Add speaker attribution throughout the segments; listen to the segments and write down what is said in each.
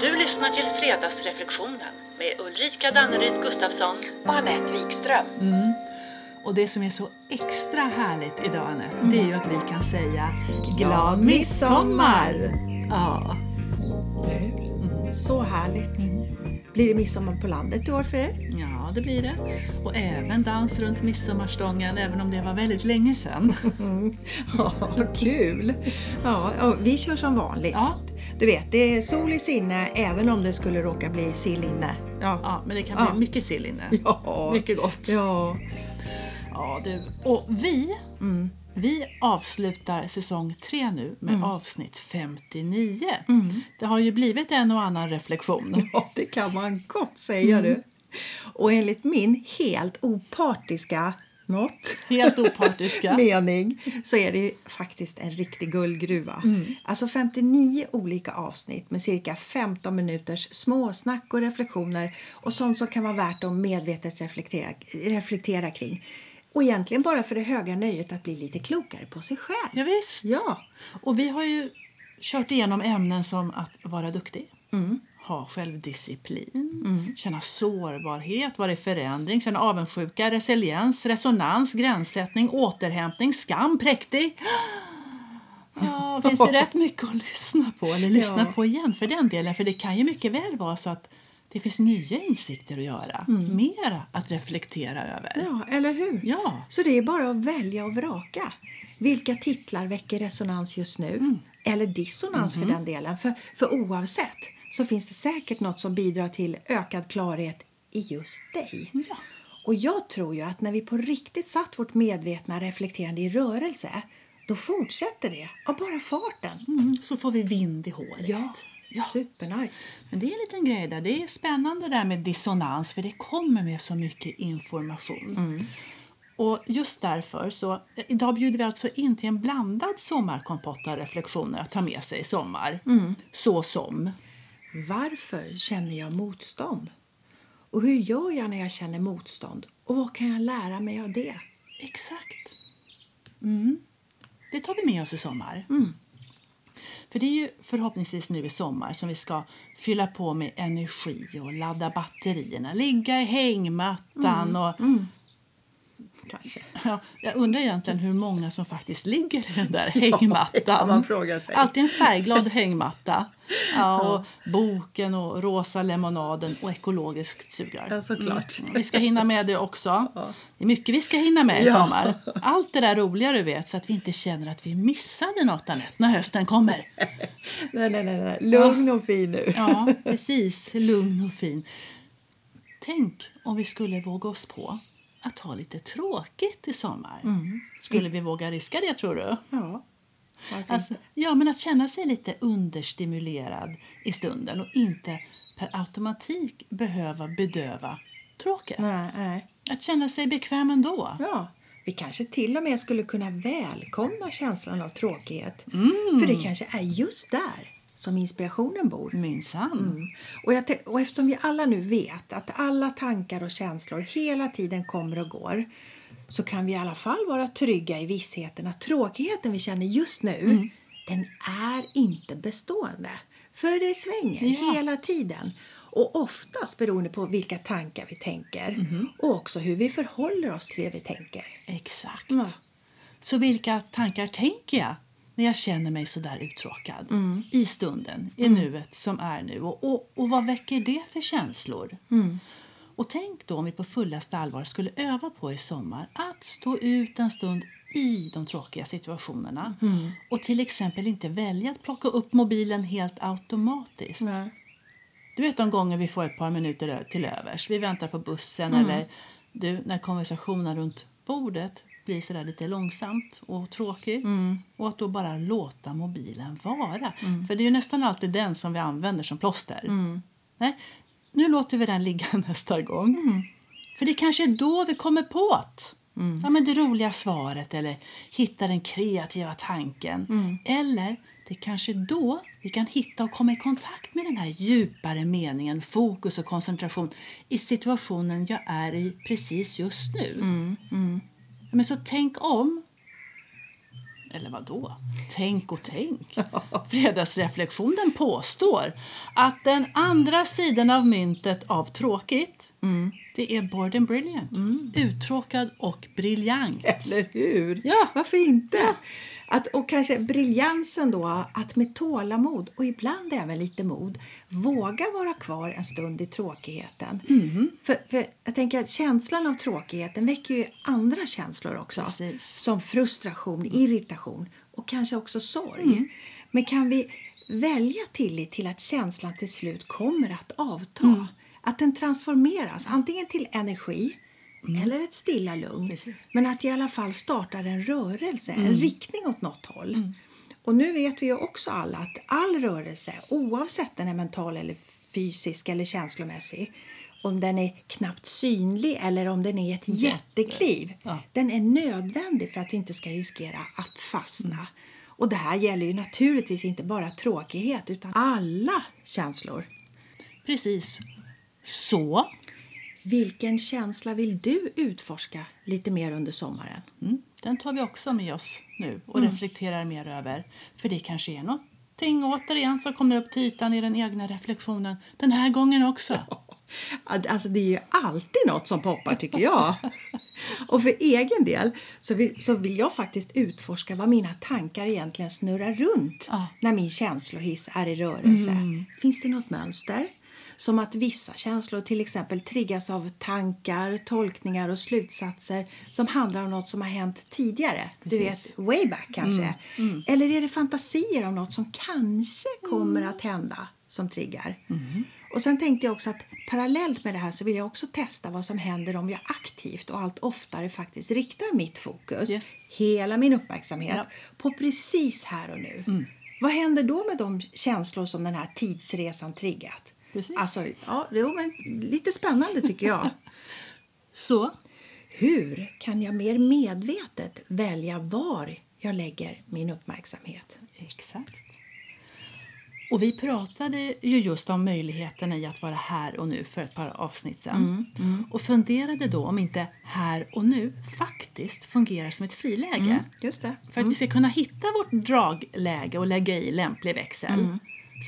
Speaker 1: Du lyssnar till Fredagsreflektionen med Ulrika Danneryd Gustafsson.
Speaker 2: och Anette Wikström.
Speaker 3: Mm. Och det som är så extra härligt idag Anette, det är ju att vi kan säga
Speaker 2: Glad midsommar! Mm,
Speaker 3: Ja.
Speaker 2: Så härligt. Blir det midsommar på landet i år för er?
Speaker 3: ja, det blir det. Och även dans runt midsommarstången, även om det var väldigt länge sedan. Mm.
Speaker 2: Ja, kul! Ja, ja, vi kör som vanligt.
Speaker 3: Ja.
Speaker 2: Du vet, det är sol i sinne även om det skulle råka bli sill inne. Ja.
Speaker 3: Ja, men det kan bli
Speaker 2: Ja.
Speaker 3: mycket sill inne.
Speaker 2: Ja.
Speaker 3: Mycket gott.
Speaker 2: Ja.
Speaker 3: Ja, du. Och vi, vi avslutar säsong tre nu med avsnitt 59. Det har ju blivit en och annan reflektion.
Speaker 2: ja, det kan man gott säga
Speaker 3: Mm.
Speaker 2: du. Och enligt min helt opartiska något
Speaker 3: Helt opartiska.
Speaker 2: mening så är det ju faktiskt en riktig guldgruva. Alltså 59 olika avsnitt med cirka 15 minuters småsnack och reflektioner och sånt som kan vara värt att medvetet reflektera, reflektera kring. Och egentligen bara för det höga nöjet att bli lite klokare på sig själv.
Speaker 3: Ja, visst.
Speaker 2: Ja,
Speaker 3: Och vi har ju kört igenom ämnen som att vara duktig,
Speaker 2: Mm.
Speaker 3: ha självdisciplin, känna sårbarhet, vara i förändring, känna avundsjuka, resiliens, resonans, gränssättning, återhämtning, skam, präktig. Ja, finns ju rätt mycket att lyssna på, eller lyssna
Speaker 2: Ja.
Speaker 3: på igen för den delen. För det kan ju mycket väl vara så att det finns nya insikter att göra,
Speaker 2: Mm.
Speaker 3: mer att reflektera över.
Speaker 2: ja eller hur?
Speaker 3: Ja.
Speaker 2: Så det är bara att välja och vraka. Vilka titlar väcker resonans just nu? Eller dissonans för den delen. För, för oavsett så finns det säkert något som bidrar till ökad klarhet i just dig.
Speaker 3: Ja.
Speaker 2: Och jag tror ju att när vi på riktigt satt vårt medvetna reflekterande i rörelse, då fortsätter det av bara farten.
Speaker 3: Mm. Så får vi vind i håret.
Speaker 2: Ja, supernice.
Speaker 3: Men det är en liten grej där. Det är spännande det där med dissonans för det kommer med så mycket information. Och just därför så, idag bjuder vi alltså in till en blandad sommarkompott av reflektioner att ta med sig i sommar. Så som.
Speaker 2: Varför känner jag motstånd? Och hur gör jag när jag känner motstånd? Och vad kan jag lära mig av det?
Speaker 3: Exakt. Mm. Det tar vi med oss i sommar. För det är ju förhoppningsvis nu i sommar som vi ska fylla på med energi och ladda batterierna, ligga i hängmattan och
Speaker 2: Kanske.
Speaker 3: Ja, jag undrar egentligen hur många som faktiskt ligger i den där
Speaker 2: det kan
Speaker 3: hängmattan.
Speaker 2: man fråga sig.
Speaker 3: Alltid en färgglad hängmatta. Ja, och Boken och rosa lemonaden och ekologiskt sugrör. Mm,
Speaker 2: Ja, såklart.
Speaker 3: Vi ska hinna med det också. Det är mycket vi ska hinna med i
Speaker 2: Ja.
Speaker 3: sommar. Allt det där roliga du vet så att vi inte känner att vi missade något Anette, när hösten kommer.
Speaker 2: Nej, nej, nej, nej. Lugn och fin nu.
Speaker 3: Ja, precis. Lugn och fin. Tänk om vi skulle våga oss på att ha lite tråkigt i sommar.
Speaker 2: Mm.
Speaker 3: Skulle vi våga riska det, tror du?
Speaker 2: Ja. Varför
Speaker 3: Alltså,
Speaker 2: inte?
Speaker 3: ja, men att känna sig lite understimulerad i stunden och inte per automatik behöva bedöva tråkigt.
Speaker 2: Nej, nej.
Speaker 3: Att känna sig bekväm ändå.
Speaker 2: Ja. Vi kanske till och med skulle kunna välkomna känslan av tråkighet. För det kanske är just där som inspirationen bor.
Speaker 3: Minsann.
Speaker 2: Mm. Och, jag, tän- och eftersom vi alla nu vet att alla tankar och känslor hela tiden kommer och går så kan vi i alla fall vara trygga i vissheten att tråkigheten vi känner just nu den är inte bestående. För det svänger
Speaker 3: Ja.
Speaker 2: hela tiden. Och oftast beroende på vilka tankar vi tänker och också hur vi förhåller oss till det vi tänker.
Speaker 3: Exakt.
Speaker 2: Ja.
Speaker 3: Så vilka tankar tänker jag när jag känner mig så där uttråkad? I stunden, i nuet som är nu. Och, och, och vad väcker det för känslor? Och tänk då om vi på fullaste allvar skulle öva på i sommar att stå ut en stund i de tråkiga situationerna och till exempel inte välja att plocka upp mobilen helt automatiskt. Du vet de gånger vi får ett par minuter ö- till övers. Vi väntar på bussen eller du, när konversationen runt bordet blir sådär lite långsamt och tråkigt. Och att då bara låta mobilen vara. För det är ju nästan alltid den som vi använder som plåster. Nej, nu låter vi den ligga nästa gång. För det kanske är då vi kommer på att, ja, men det roliga svaret eller hitta den kreativa tanken. Eller det kanske är då vi kan hitta och komma i kontakt med den här djupare meningen, fokus och koncentration i situationen jag är i precis just nu. Ja, men så tänk om Eller vad då? Tänk och tänk. Fredagsreflektionen påstår att den andra sidan av myntet av tråkigt det är bored and brilliant. Uttråkad och briljant.
Speaker 2: Eller hur?
Speaker 3: Ja.
Speaker 2: Varför inte? Att, och kanske briljansen då, att med tålamod och ibland även lite mod våga vara kvar en stund i tråkigheten.
Speaker 3: Mhm.
Speaker 2: För, för jag tänker att känslan av tråkigheten väcker ju andra känslor också.
Speaker 3: Precis.
Speaker 2: Som frustration, irritation och kanske också sorg. Men kan vi välja tillit till att känslan till slut kommer att avta? Att den transformeras antingen till energi eller ett stilla lugn.
Speaker 3: Precis.
Speaker 2: Men att i alla fall startar en rörelse, en riktning åt något håll. Och nu vet vi ju också alla att all rörelse, oavsett den är mental eller fysisk eller känslomässig, om den är knappt synlig eller om den är ett jättekliv,
Speaker 3: Ja.
Speaker 2: den är nödvändig för att vi inte ska riskera att fastna. Och det här gäller ju naturligtvis inte bara tråkighet utan alla känslor.
Speaker 3: Precis. Så
Speaker 2: Vilken känsla vill du utforska lite mer under sommaren?
Speaker 3: Mm, den tar vi också med oss nu och reflekterar mer över. För det kanske är någonting återigen som kommer upp till ytan i den egna reflektionen den här gången också.
Speaker 2: Att- Alltså det är ju alltid något som poppar tycker jag. Och för egen del så vill, så vill jag faktiskt utforska vad mina tankar egentligen snurrar runt
Speaker 3: Ja. Mm.
Speaker 2: när min känslohiss är i rörelse. Finns det något mönster? Som att vissa känslor till exempel triggas av tankar, tolkningar och slutsatser som handlar om något som har hänt tidigare. Du
Speaker 3: Precis.
Speaker 2: vet, way back kanske.
Speaker 3: Mm,
Speaker 2: Eller är det fantasier om något som kanske kommer att hända som triggar?
Speaker 3: Mm.
Speaker 2: Och sen tänkte jag också att parallellt med det här så vill jag också testa vad som händer om jag aktivt och allt oftare faktiskt riktar mitt fokus,
Speaker 3: Yes.
Speaker 2: hela min uppmärksamhet,
Speaker 3: Ja. Mm.
Speaker 2: på precis här och nu. Vad händer då med de känslor som den här tidsresan triggat?
Speaker 3: Precis.
Speaker 2: Alltså, ja, det är lite spännande tycker jag.
Speaker 3: Så
Speaker 2: Hur kan jag mer medvetet välja var jag lägger min uppmärksamhet?
Speaker 3: Exakt. Och vi pratade ju just om möjligheten i att vara här och nu för ett par avsnitt sedan. Och funderade då om inte här och nu faktiskt fungerar som ett friläge.
Speaker 2: Just det.
Speaker 3: För att vi ska kunna hitta vårt dragläge och lägga i lämplig växel.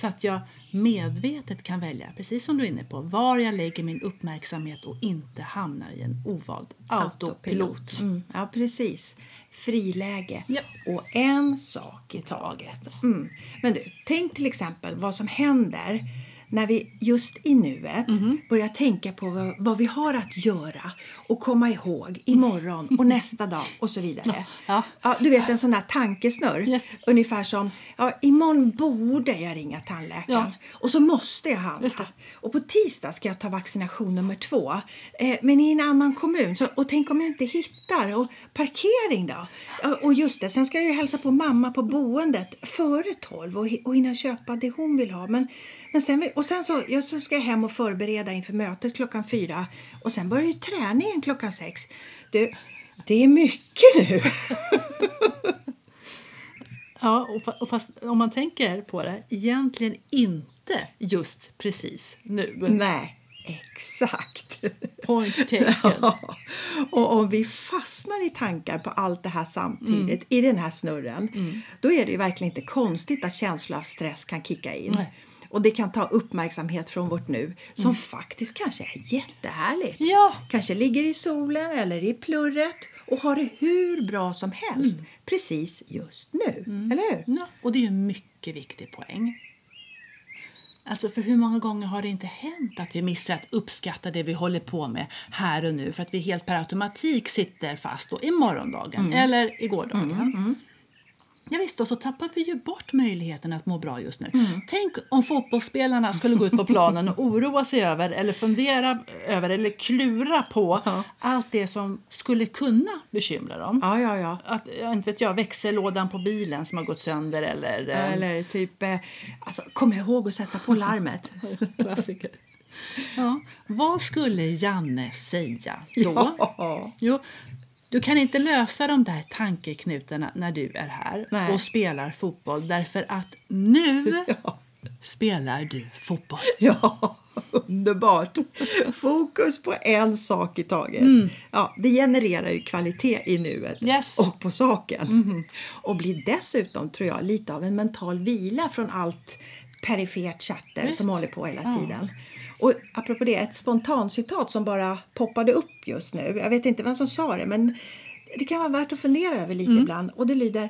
Speaker 3: Så att jag medvetet kan välja, precis som du är inne på, var jag lägger min uppmärksamhet och inte hamnar i en ovald autopilot.
Speaker 2: Mm, ja, precis. Friläge.
Speaker 3: Ja.
Speaker 2: Och en sak i taget. Mm. Men du, tänk till exempel vad som händer när vi just i nuet
Speaker 3: Mhm.
Speaker 2: börjar tänka på vad, vad vi har att göra och komma ihåg imorgon och nästa dag och så vidare.
Speaker 3: Ja.
Speaker 2: du vet en sån där tankesnurr.
Speaker 3: Yes.
Speaker 2: Ungefär som, ja, imorgon borde jag ringa tandläkaren
Speaker 3: Ja.
Speaker 2: och så måste jag handla.
Speaker 3: Just det.
Speaker 2: Och på tisdag ska jag ta vaccination nummer två. Eh, men i en annan kommun. Så, och tänk om jag inte hittar. Och parkering då? Ja, Och just det, sen ska jag ju hälsa på mamma på boendet före tolv och, hi- och hinna köpa det hon vill ha. Men, men sen, vill- och sen så, ja, så ska jag hem och förbereda inför mötet klockan fyra. Och sen börjar ju träningen klockan sex. Du, det är mycket nu.
Speaker 3: Ja, och, fa- och fast om man tänker på det, egentligen inte just precis nu.
Speaker 2: Nej, exakt.
Speaker 3: Point taken.
Speaker 2: Ja. Och om vi fastnar i tankar på allt det här samtidigt
Speaker 3: Mm.
Speaker 2: i den här snurren då är det ju verkligen inte konstigt att känslor av stress kan kicka in.
Speaker 3: Nej. Mm.
Speaker 2: Och det kan ta uppmärksamhet från vårt nu som faktiskt kanske är jättehärligt.
Speaker 3: Ja.
Speaker 2: Kanske ligger i solen eller i plurret och har det hur bra som helst
Speaker 3: Mm.
Speaker 2: precis just nu. Eller hur?
Speaker 3: Ja, och det är ju en mycket viktig poäng. Alltså för hur många gånger har det inte hänt att vi missar att uppskatta det vi håller på med här och nu för att vi helt per automatik sitter fast då i morgondagen eller i gårdagen. Ja, visst, och så tappar vi ju bort möjligheten att må bra just nu. Tänk om fotbollsspelarna skulle gå ut på planen och oroa sig över eller fundera över eller klura på
Speaker 2: Ja.
Speaker 3: allt det som skulle kunna bekymra dem
Speaker 2: Ja, ja, ja.
Speaker 3: att, jag inte vet jag, växellådan på bilen som har gått sönder eller... eh,
Speaker 2: Eller typ, eh, alltså, kom ihåg att sätta på larmet.
Speaker 3: Klassiker. Ja. Vad skulle Janne säga då?
Speaker 2: Ja.
Speaker 3: Jo, du kan inte lösa de där tankeknutarna när du är här
Speaker 2: Nej.
Speaker 3: och spelar fotboll därför att nu
Speaker 2: Ja.
Speaker 3: spelar du fotboll.
Speaker 2: Ja. underbart. Fokus på en sak i taget. Ja, det genererar ju kvalitet i nuet
Speaker 3: Yes.
Speaker 2: och på saken. Och blir dessutom, tror jag, lite av en mental vila från allt perifert chatter som håller på hela tiden. Och apropå det, ett spontancitat som bara poppade upp just nu. Jag vet inte vem som sa det, men det kan vara värt att fundera över lite ibland. Och det lyder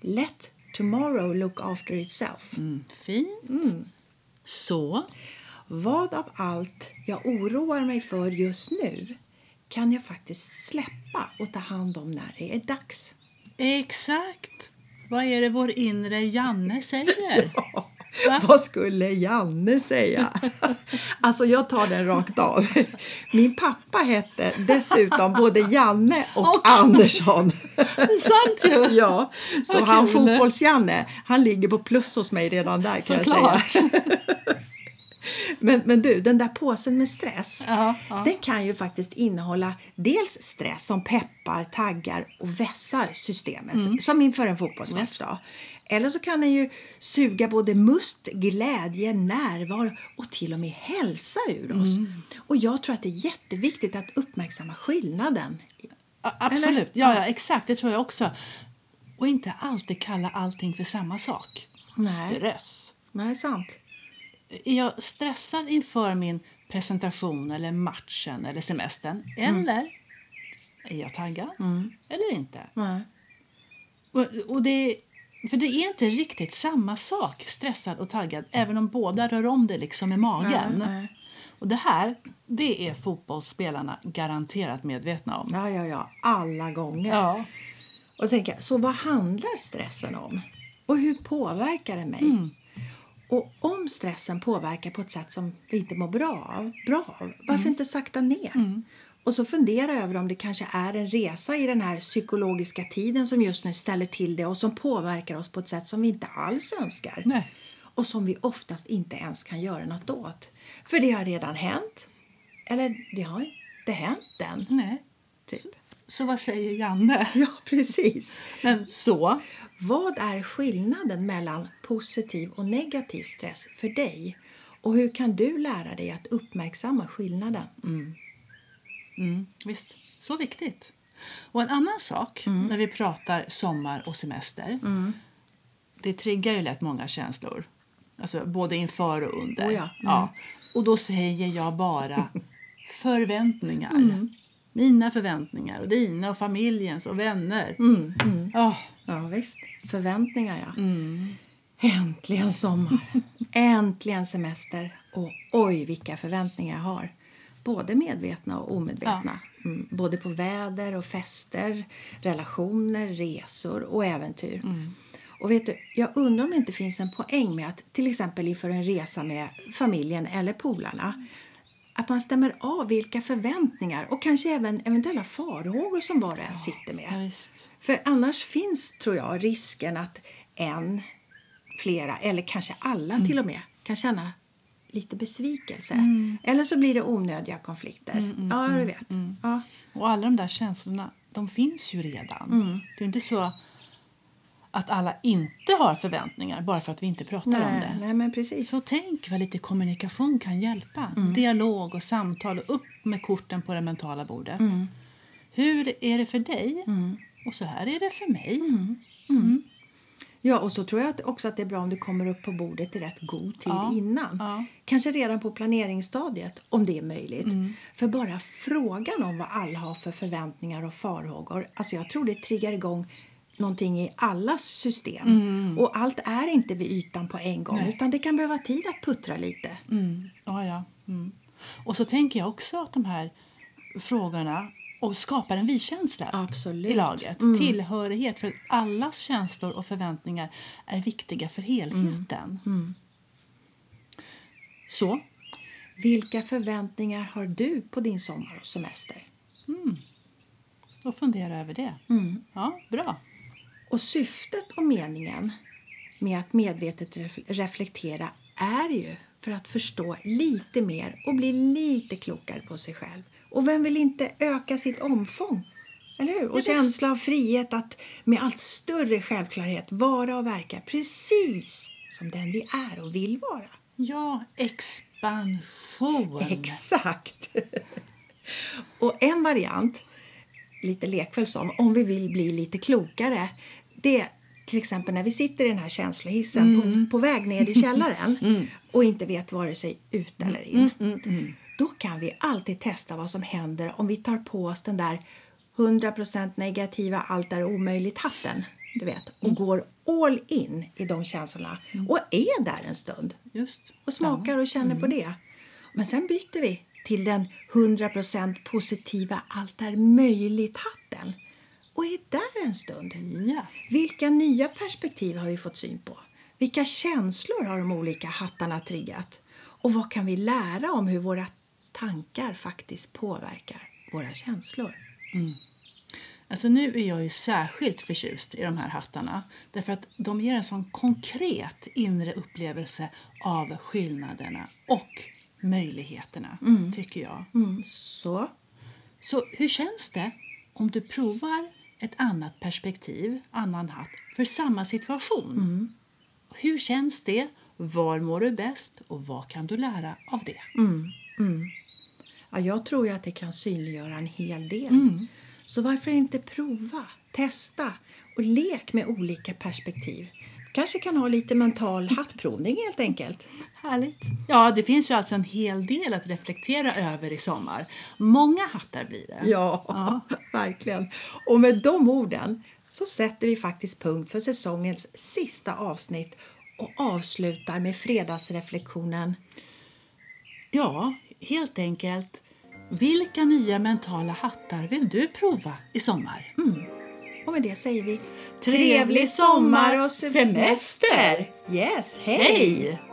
Speaker 2: Let tomorrow look after itself.
Speaker 3: Mm, Fint. Så.
Speaker 2: Vad av allt jag oroar mig för just nu kan jag faktiskt släppa och ta hand om när det är dags.
Speaker 3: Exakt. Vad är det vår inre Janne säger? Va?
Speaker 2: Vad skulle Janne säga? Alltså jag tar den rakt av. Min pappa hette dessutom både Janne och,
Speaker 3: Och-
Speaker 2: Andersson.
Speaker 3: Det är sant ju!
Speaker 2: Ja, så
Speaker 3: Vad
Speaker 2: han
Speaker 3: kul.
Speaker 2: fotbolls-Janne, han ligger på plus hos mig redan där kan jag
Speaker 3: Såklart.
Speaker 2: säga. Men, men du, den där påsen med stress,
Speaker 3: Ja, ja.
Speaker 2: den kan ju faktiskt innehålla dels stress som peppar, taggar och vässar systemet,
Speaker 3: Mm.
Speaker 2: som inför en fotbollsmatch. då. Eller så kan den ju suga både must, glädje, närvaro och till och med hälsa ur oss.
Speaker 3: Mm.
Speaker 2: Och jag tror att det är jätteviktigt att uppmärksamma skillnaden.
Speaker 3: A- Absolut. Ja, ja, exakt. Det tror jag också. Och inte alltid kalla allting för samma sak.
Speaker 2: Nej.
Speaker 3: Stress.
Speaker 2: Nej, sant.
Speaker 3: Är jag stressad inför min presentation eller matchen eller semestern?
Speaker 2: Mm.
Speaker 3: Eller är jag taggad? Eller inte?
Speaker 2: Nej.
Speaker 3: Och, och det, för det är inte riktigt samma sak, stressad och taggad, även om båda rör om det liksom i magen.
Speaker 2: Nej, nej.
Speaker 3: Och det här, det är fotbollsspelarna garanterat medvetna om.
Speaker 2: Ja, ja, ja. Alla gånger.
Speaker 3: Ja,
Speaker 2: Och då tänker jag, så vad handlar stressen om? Och hur påverkar den mig? Och om stressen påverkar på ett sätt som vi inte mår bra av, bra av varför inte sakta ner? Och så fundera över om det kanske är en resa i den här psykologiska tiden som just nu ställer till det och som påverkar oss på ett sätt som vi inte alls önskar.
Speaker 3: Nej.
Speaker 2: Och som vi oftast inte ens kan göra något åt. För det har redan hänt. Eller det har inte hänt än.
Speaker 3: nej.
Speaker 2: Typ.
Speaker 3: Så, så vad säger Janne?
Speaker 2: Ja, precis.
Speaker 3: Men så,
Speaker 2: Vad är skillnaden mellan positiv och negativ stress för dig? Och hur kan du lära dig att uppmärksamma skillnaden?
Speaker 3: mm, visst, så viktigt. Och en annan sak
Speaker 2: Mm.
Speaker 3: när vi pratar sommar och semester. Det triggar ju lätt många känslor. Alltså både inför och under.
Speaker 2: Oh ja, mm.
Speaker 3: Och då säger jag bara förväntningar.
Speaker 2: Mm.
Speaker 3: Mina förväntningar och dina och familjens och vänner. Mm.
Speaker 2: Ja visst, förväntningar ja. Äntligen sommar, äntligen semester och oj vilka förväntningar jag har. Både medvetna och omedvetna. Mm, både på väder och fester, relationer, resor och äventyr. Och vet du, jag undrar om det inte finns en poäng med att till exempel inför en resa med familjen eller polarna att man stämmer av vilka förväntningar och kanske även eventuella farhågor som var och en sitter med.
Speaker 3: ja, visst.
Speaker 2: För annars finns, tror jag, risken att en, flera eller kanske alla
Speaker 3: Mm.
Speaker 2: till och med kan känna lite besvikelse.
Speaker 3: Mm.
Speaker 2: Eller så blir det onödiga konflikter. ja, du vet. Ja.
Speaker 3: Och alla de där känslorna, de finns ju redan. Det är inte så att alla inte har förväntningar bara för att vi inte pratar om
Speaker 2: Nej,
Speaker 3: det.
Speaker 2: nej, men precis.
Speaker 3: Så tänk vad lite kommunikation kan hjälpa. Dialog och samtal och upp med korten på det mentala bordet. Hur är det för dig? Och så här är det för mig.
Speaker 2: Ja, och så tror jag att- också att det är bra om du kommer upp på bordet i rätt god tid
Speaker 3: Ja,
Speaker 2: innan.
Speaker 3: ja.
Speaker 2: Kanske redan på planeringsstadiet, om det är möjligt.
Speaker 3: Mm.
Speaker 2: För bara frågan om vad alla har för förväntningar och farhågor, alltså jag tror det triggar igång någonting i allas system.
Speaker 3: Mm.
Speaker 2: Och allt är inte vid ytan på en gång, utan det kan behöva tid att puttra lite.
Speaker 3: Mm. Ja, ja. Mm. Och så tänker jag också att de här frågorna och skapar en vi-känsla
Speaker 2: Absolut.
Speaker 3: i laget. Tillhörighet. För att allas känslor och förväntningar är viktiga för helheten. Så.
Speaker 2: Vilka förväntningar har du på din sommar och semester?
Speaker 3: Då funderar jag över det. Ja, bra.
Speaker 2: Och syftet och meningen med att medvetet ref- reflektera är ju för att förstå lite mer och bli lite klokare på sig själv. Och vem vill inte öka sitt omfång? Eller hur? Och
Speaker 3: visst.
Speaker 2: känsla av frihet att med allt större självklarhet vara och verka precis som den vi är och vill vara.
Speaker 3: Ja, exakt. Expansion.
Speaker 2: Exakt! Och en variant, lite lekfull som, om vi vill bli lite klokare, det är till exempel när vi sitter i den här känslohissen på, på väg ner i källaren och inte vet vare sig ut eller in. Då kan vi alltid testa vad som händer om vi tar på oss den där 100% negativa, allt är omöjligt-hatten. Du vet, och går all in i de känslorna och är där en stund
Speaker 3: Just.
Speaker 2: och smakar och känner på det. Men sen byter vi till den 100% positiva allt är möjligt-hatten och är där en stund.
Speaker 3: Ja.
Speaker 2: Vilka nya perspektiv har vi fått syn på? Vilka känslor har de olika hattarna triggat? Och vad kan vi lära om hur våra tankar faktiskt påverkar våra känslor?
Speaker 3: Alltså nu är jag ju särskilt förtjust i de här hattarna därför att de ger en sån konkret inre upplevelse av skillnaderna och möjligheterna, tycker jag.
Speaker 2: Mm, så.
Speaker 3: Så hur känns det om du provar ett annat perspektiv, annan hatt, för samma situation? Hur känns det? Var mår du bäst? Och vad kan du lära av det?
Speaker 2: Ja, jag tror ju att det kan synliggöra en hel del.
Speaker 3: Mm.
Speaker 2: Så varför inte prova, testa och lek med olika perspektiv. kanske kan ha lite mental hattprovning helt enkelt.
Speaker 3: Härligt. Ja, det finns ju alltså en hel del att reflektera över i sommar. Många hattar blir det.
Speaker 2: Ja, verkligen. Och med de orden så sätter vi faktiskt punkt för säsongens sista avsnitt och avslutar med fredagsreflektionen.
Speaker 3: Ja, helt enkelt. Vilka nya mentala hattar vill du prova i sommar? Mm.
Speaker 2: Och med det säger vi
Speaker 3: Trevlig sommar och semester!
Speaker 2: Yes, hej!
Speaker 3: Hej!